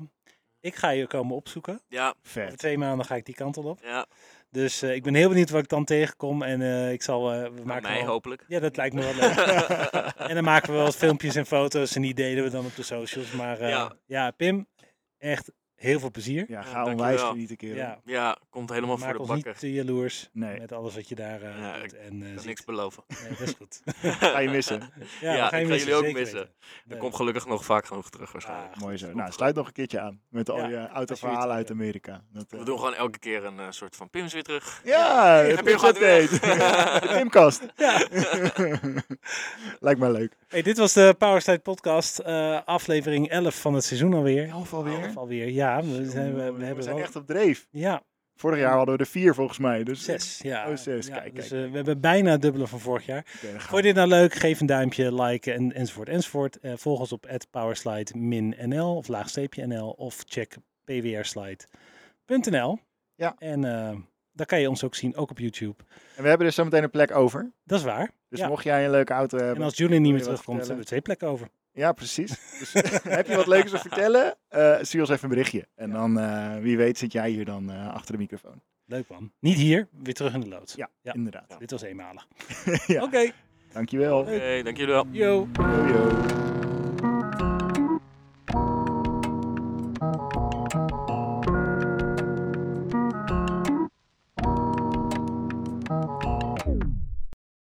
Speaker 2: Ik ga je komen opzoeken.
Speaker 3: Ja,
Speaker 2: Over
Speaker 1: vet.
Speaker 2: twee maanden ga ik die kant op.
Speaker 3: ja.
Speaker 2: Dus eh, ik ben heel benieuwd wat ik dan tegenkom. En eh, ik zal. eh, we
Speaker 3: Aan
Speaker 2: maken
Speaker 3: mij
Speaker 2: wel-
Speaker 3: hopelijk.
Speaker 2: Ja, dat lijkt me wel leuk. en dan maken we wel wat filmpjes en foto's. En die delen we dan op de socials. Maar eh, ja.
Speaker 3: Ja.
Speaker 2: Pim, echt heel veel plezier.
Speaker 1: Ja,
Speaker 3: Ja,
Speaker 1: ga
Speaker 3: dankjewel.
Speaker 1: onwijs genieten, kerel.
Speaker 2: Ja,
Speaker 3: Ja, komt helemaal
Speaker 2: maak
Speaker 3: voor
Speaker 2: ons
Speaker 3: de bakker.
Speaker 2: niet te jaloers
Speaker 1: Nee,
Speaker 2: met alles wat je daar eh,
Speaker 3: Ja,
Speaker 2: doet.
Speaker 3: ik
Speaker 2: En, eh,
Speaker 3: Kan
Speaker 2: ziet.
Speaker 3: niks beloven.
Speaker 2: Nee, dat is goed.
Speaker 1: ga je missen.
Speaker 2: Ja,
Speaker 3: Ja,
Speaker 2: we gaan je
Speaker 3: ik ga
Speaker 2: missen,
Speaker 3: jullie ook
Speaker 2: zeker
Speaker 3: missen.
Speaker 2: weten.
Speaker 3: Dat
Speaker 2: Nee.
Speaker 3: komt gelukkig nog vaak genoeg terug waarschijnlijk.
Speaker 2: Ah,
Speaker 1: Mooi zo.
Speaker 2: goed.
Speaker 1: Nou, sluit nog een keertje aan met al
Speaker 2: Ja,
Speaker 1: je
Speaker 2: als je
Speaker 1: autoverhalen
Speaker 2: iets-
Speaker 1: uit Amerika. Dat, eh,
Speaker 3: We doen gewoon elke keer een eh, soort van Pims weer terug.
Speaker 1: Ja,
Speaker 3: Heb je
Speaker 1: goed
Speaker 3: hem gehad weer?
Speaker 1: De Pimkast.
Speaker 2: Ja.
Speaker 1: Lijkt mij leuk.
Speaker 2: Hey, dit was de Powerslide Podcast, eh, aflevering 11 van het seizoen alweer.
Speaker 1: Elf
Speaker 2: Elf alweer, ja. We zijn, we, we hebben wel-
Speaker 1: echt op dreef.
Speaker 2: Ja,
Speaker 1: Vorig jaar hadden we er vier volgens mij. Dus
Speaker 2: Zes, ja.
Speaker 1: Oh, zes.
Speaker 2: Ja,
Speaker 1: Kijk,
Speaker 2: dus,
Speaker 1: kijk,
Speaker 2: eh, we hebben bijna het dubbele van vorig jaar.
Speaker 1: Oké, dan gaan
Speaker 2: Vond je dit nou leuk? Geef een duimpje, like en, enzovoort, enzovoort. Eh, volg ons op powerslide-nl of laagsteepje nl of check pwrslide.nl.
Speaker 1: Ja.
Speaker 2: En eh, daar kan je ons ook zien, ook op YouTube.
Speaker 1: we. En we hebben dus zometeen een plek over.
Speaker 2: Dat is waar.
Speaker 1: Dus
Speaker 2: Ja.
Speaker 1: mocht jij een leuke auto
Speaker 2: En
Speaker 1: hebben.
Speaker 2: als Julian niet
Speaker 1: Wil
Speaker 2: meer
Speaker 1: je wat
Speaker 2: terugkomt,
Speaker 1: vertellen?
Speaker 2: hebben we twee plekken over.
Speaker 1: Ja, precies. Dus heb je wat leuks te vertellen? Eh stuur ons even een berichtje. En dan, eh, wie weet, zit jij hier dan eh, achter de microfoon.
Speaker 2: Leuk man. Niet hier, weer terug in de lood.
Speaker 1: Ja,
Speaker 2: Ja.
Speaker 1: inderdaad.
Speaker 2: Dit was eenmalig.
Speaker 1: Ja,
Speaker 2: Oké.
Speaker 1: Dankjewel.
Speaker 3: Oké, dank jullie wel.
Speaker 2: Yo.
Speaker 1: Yo.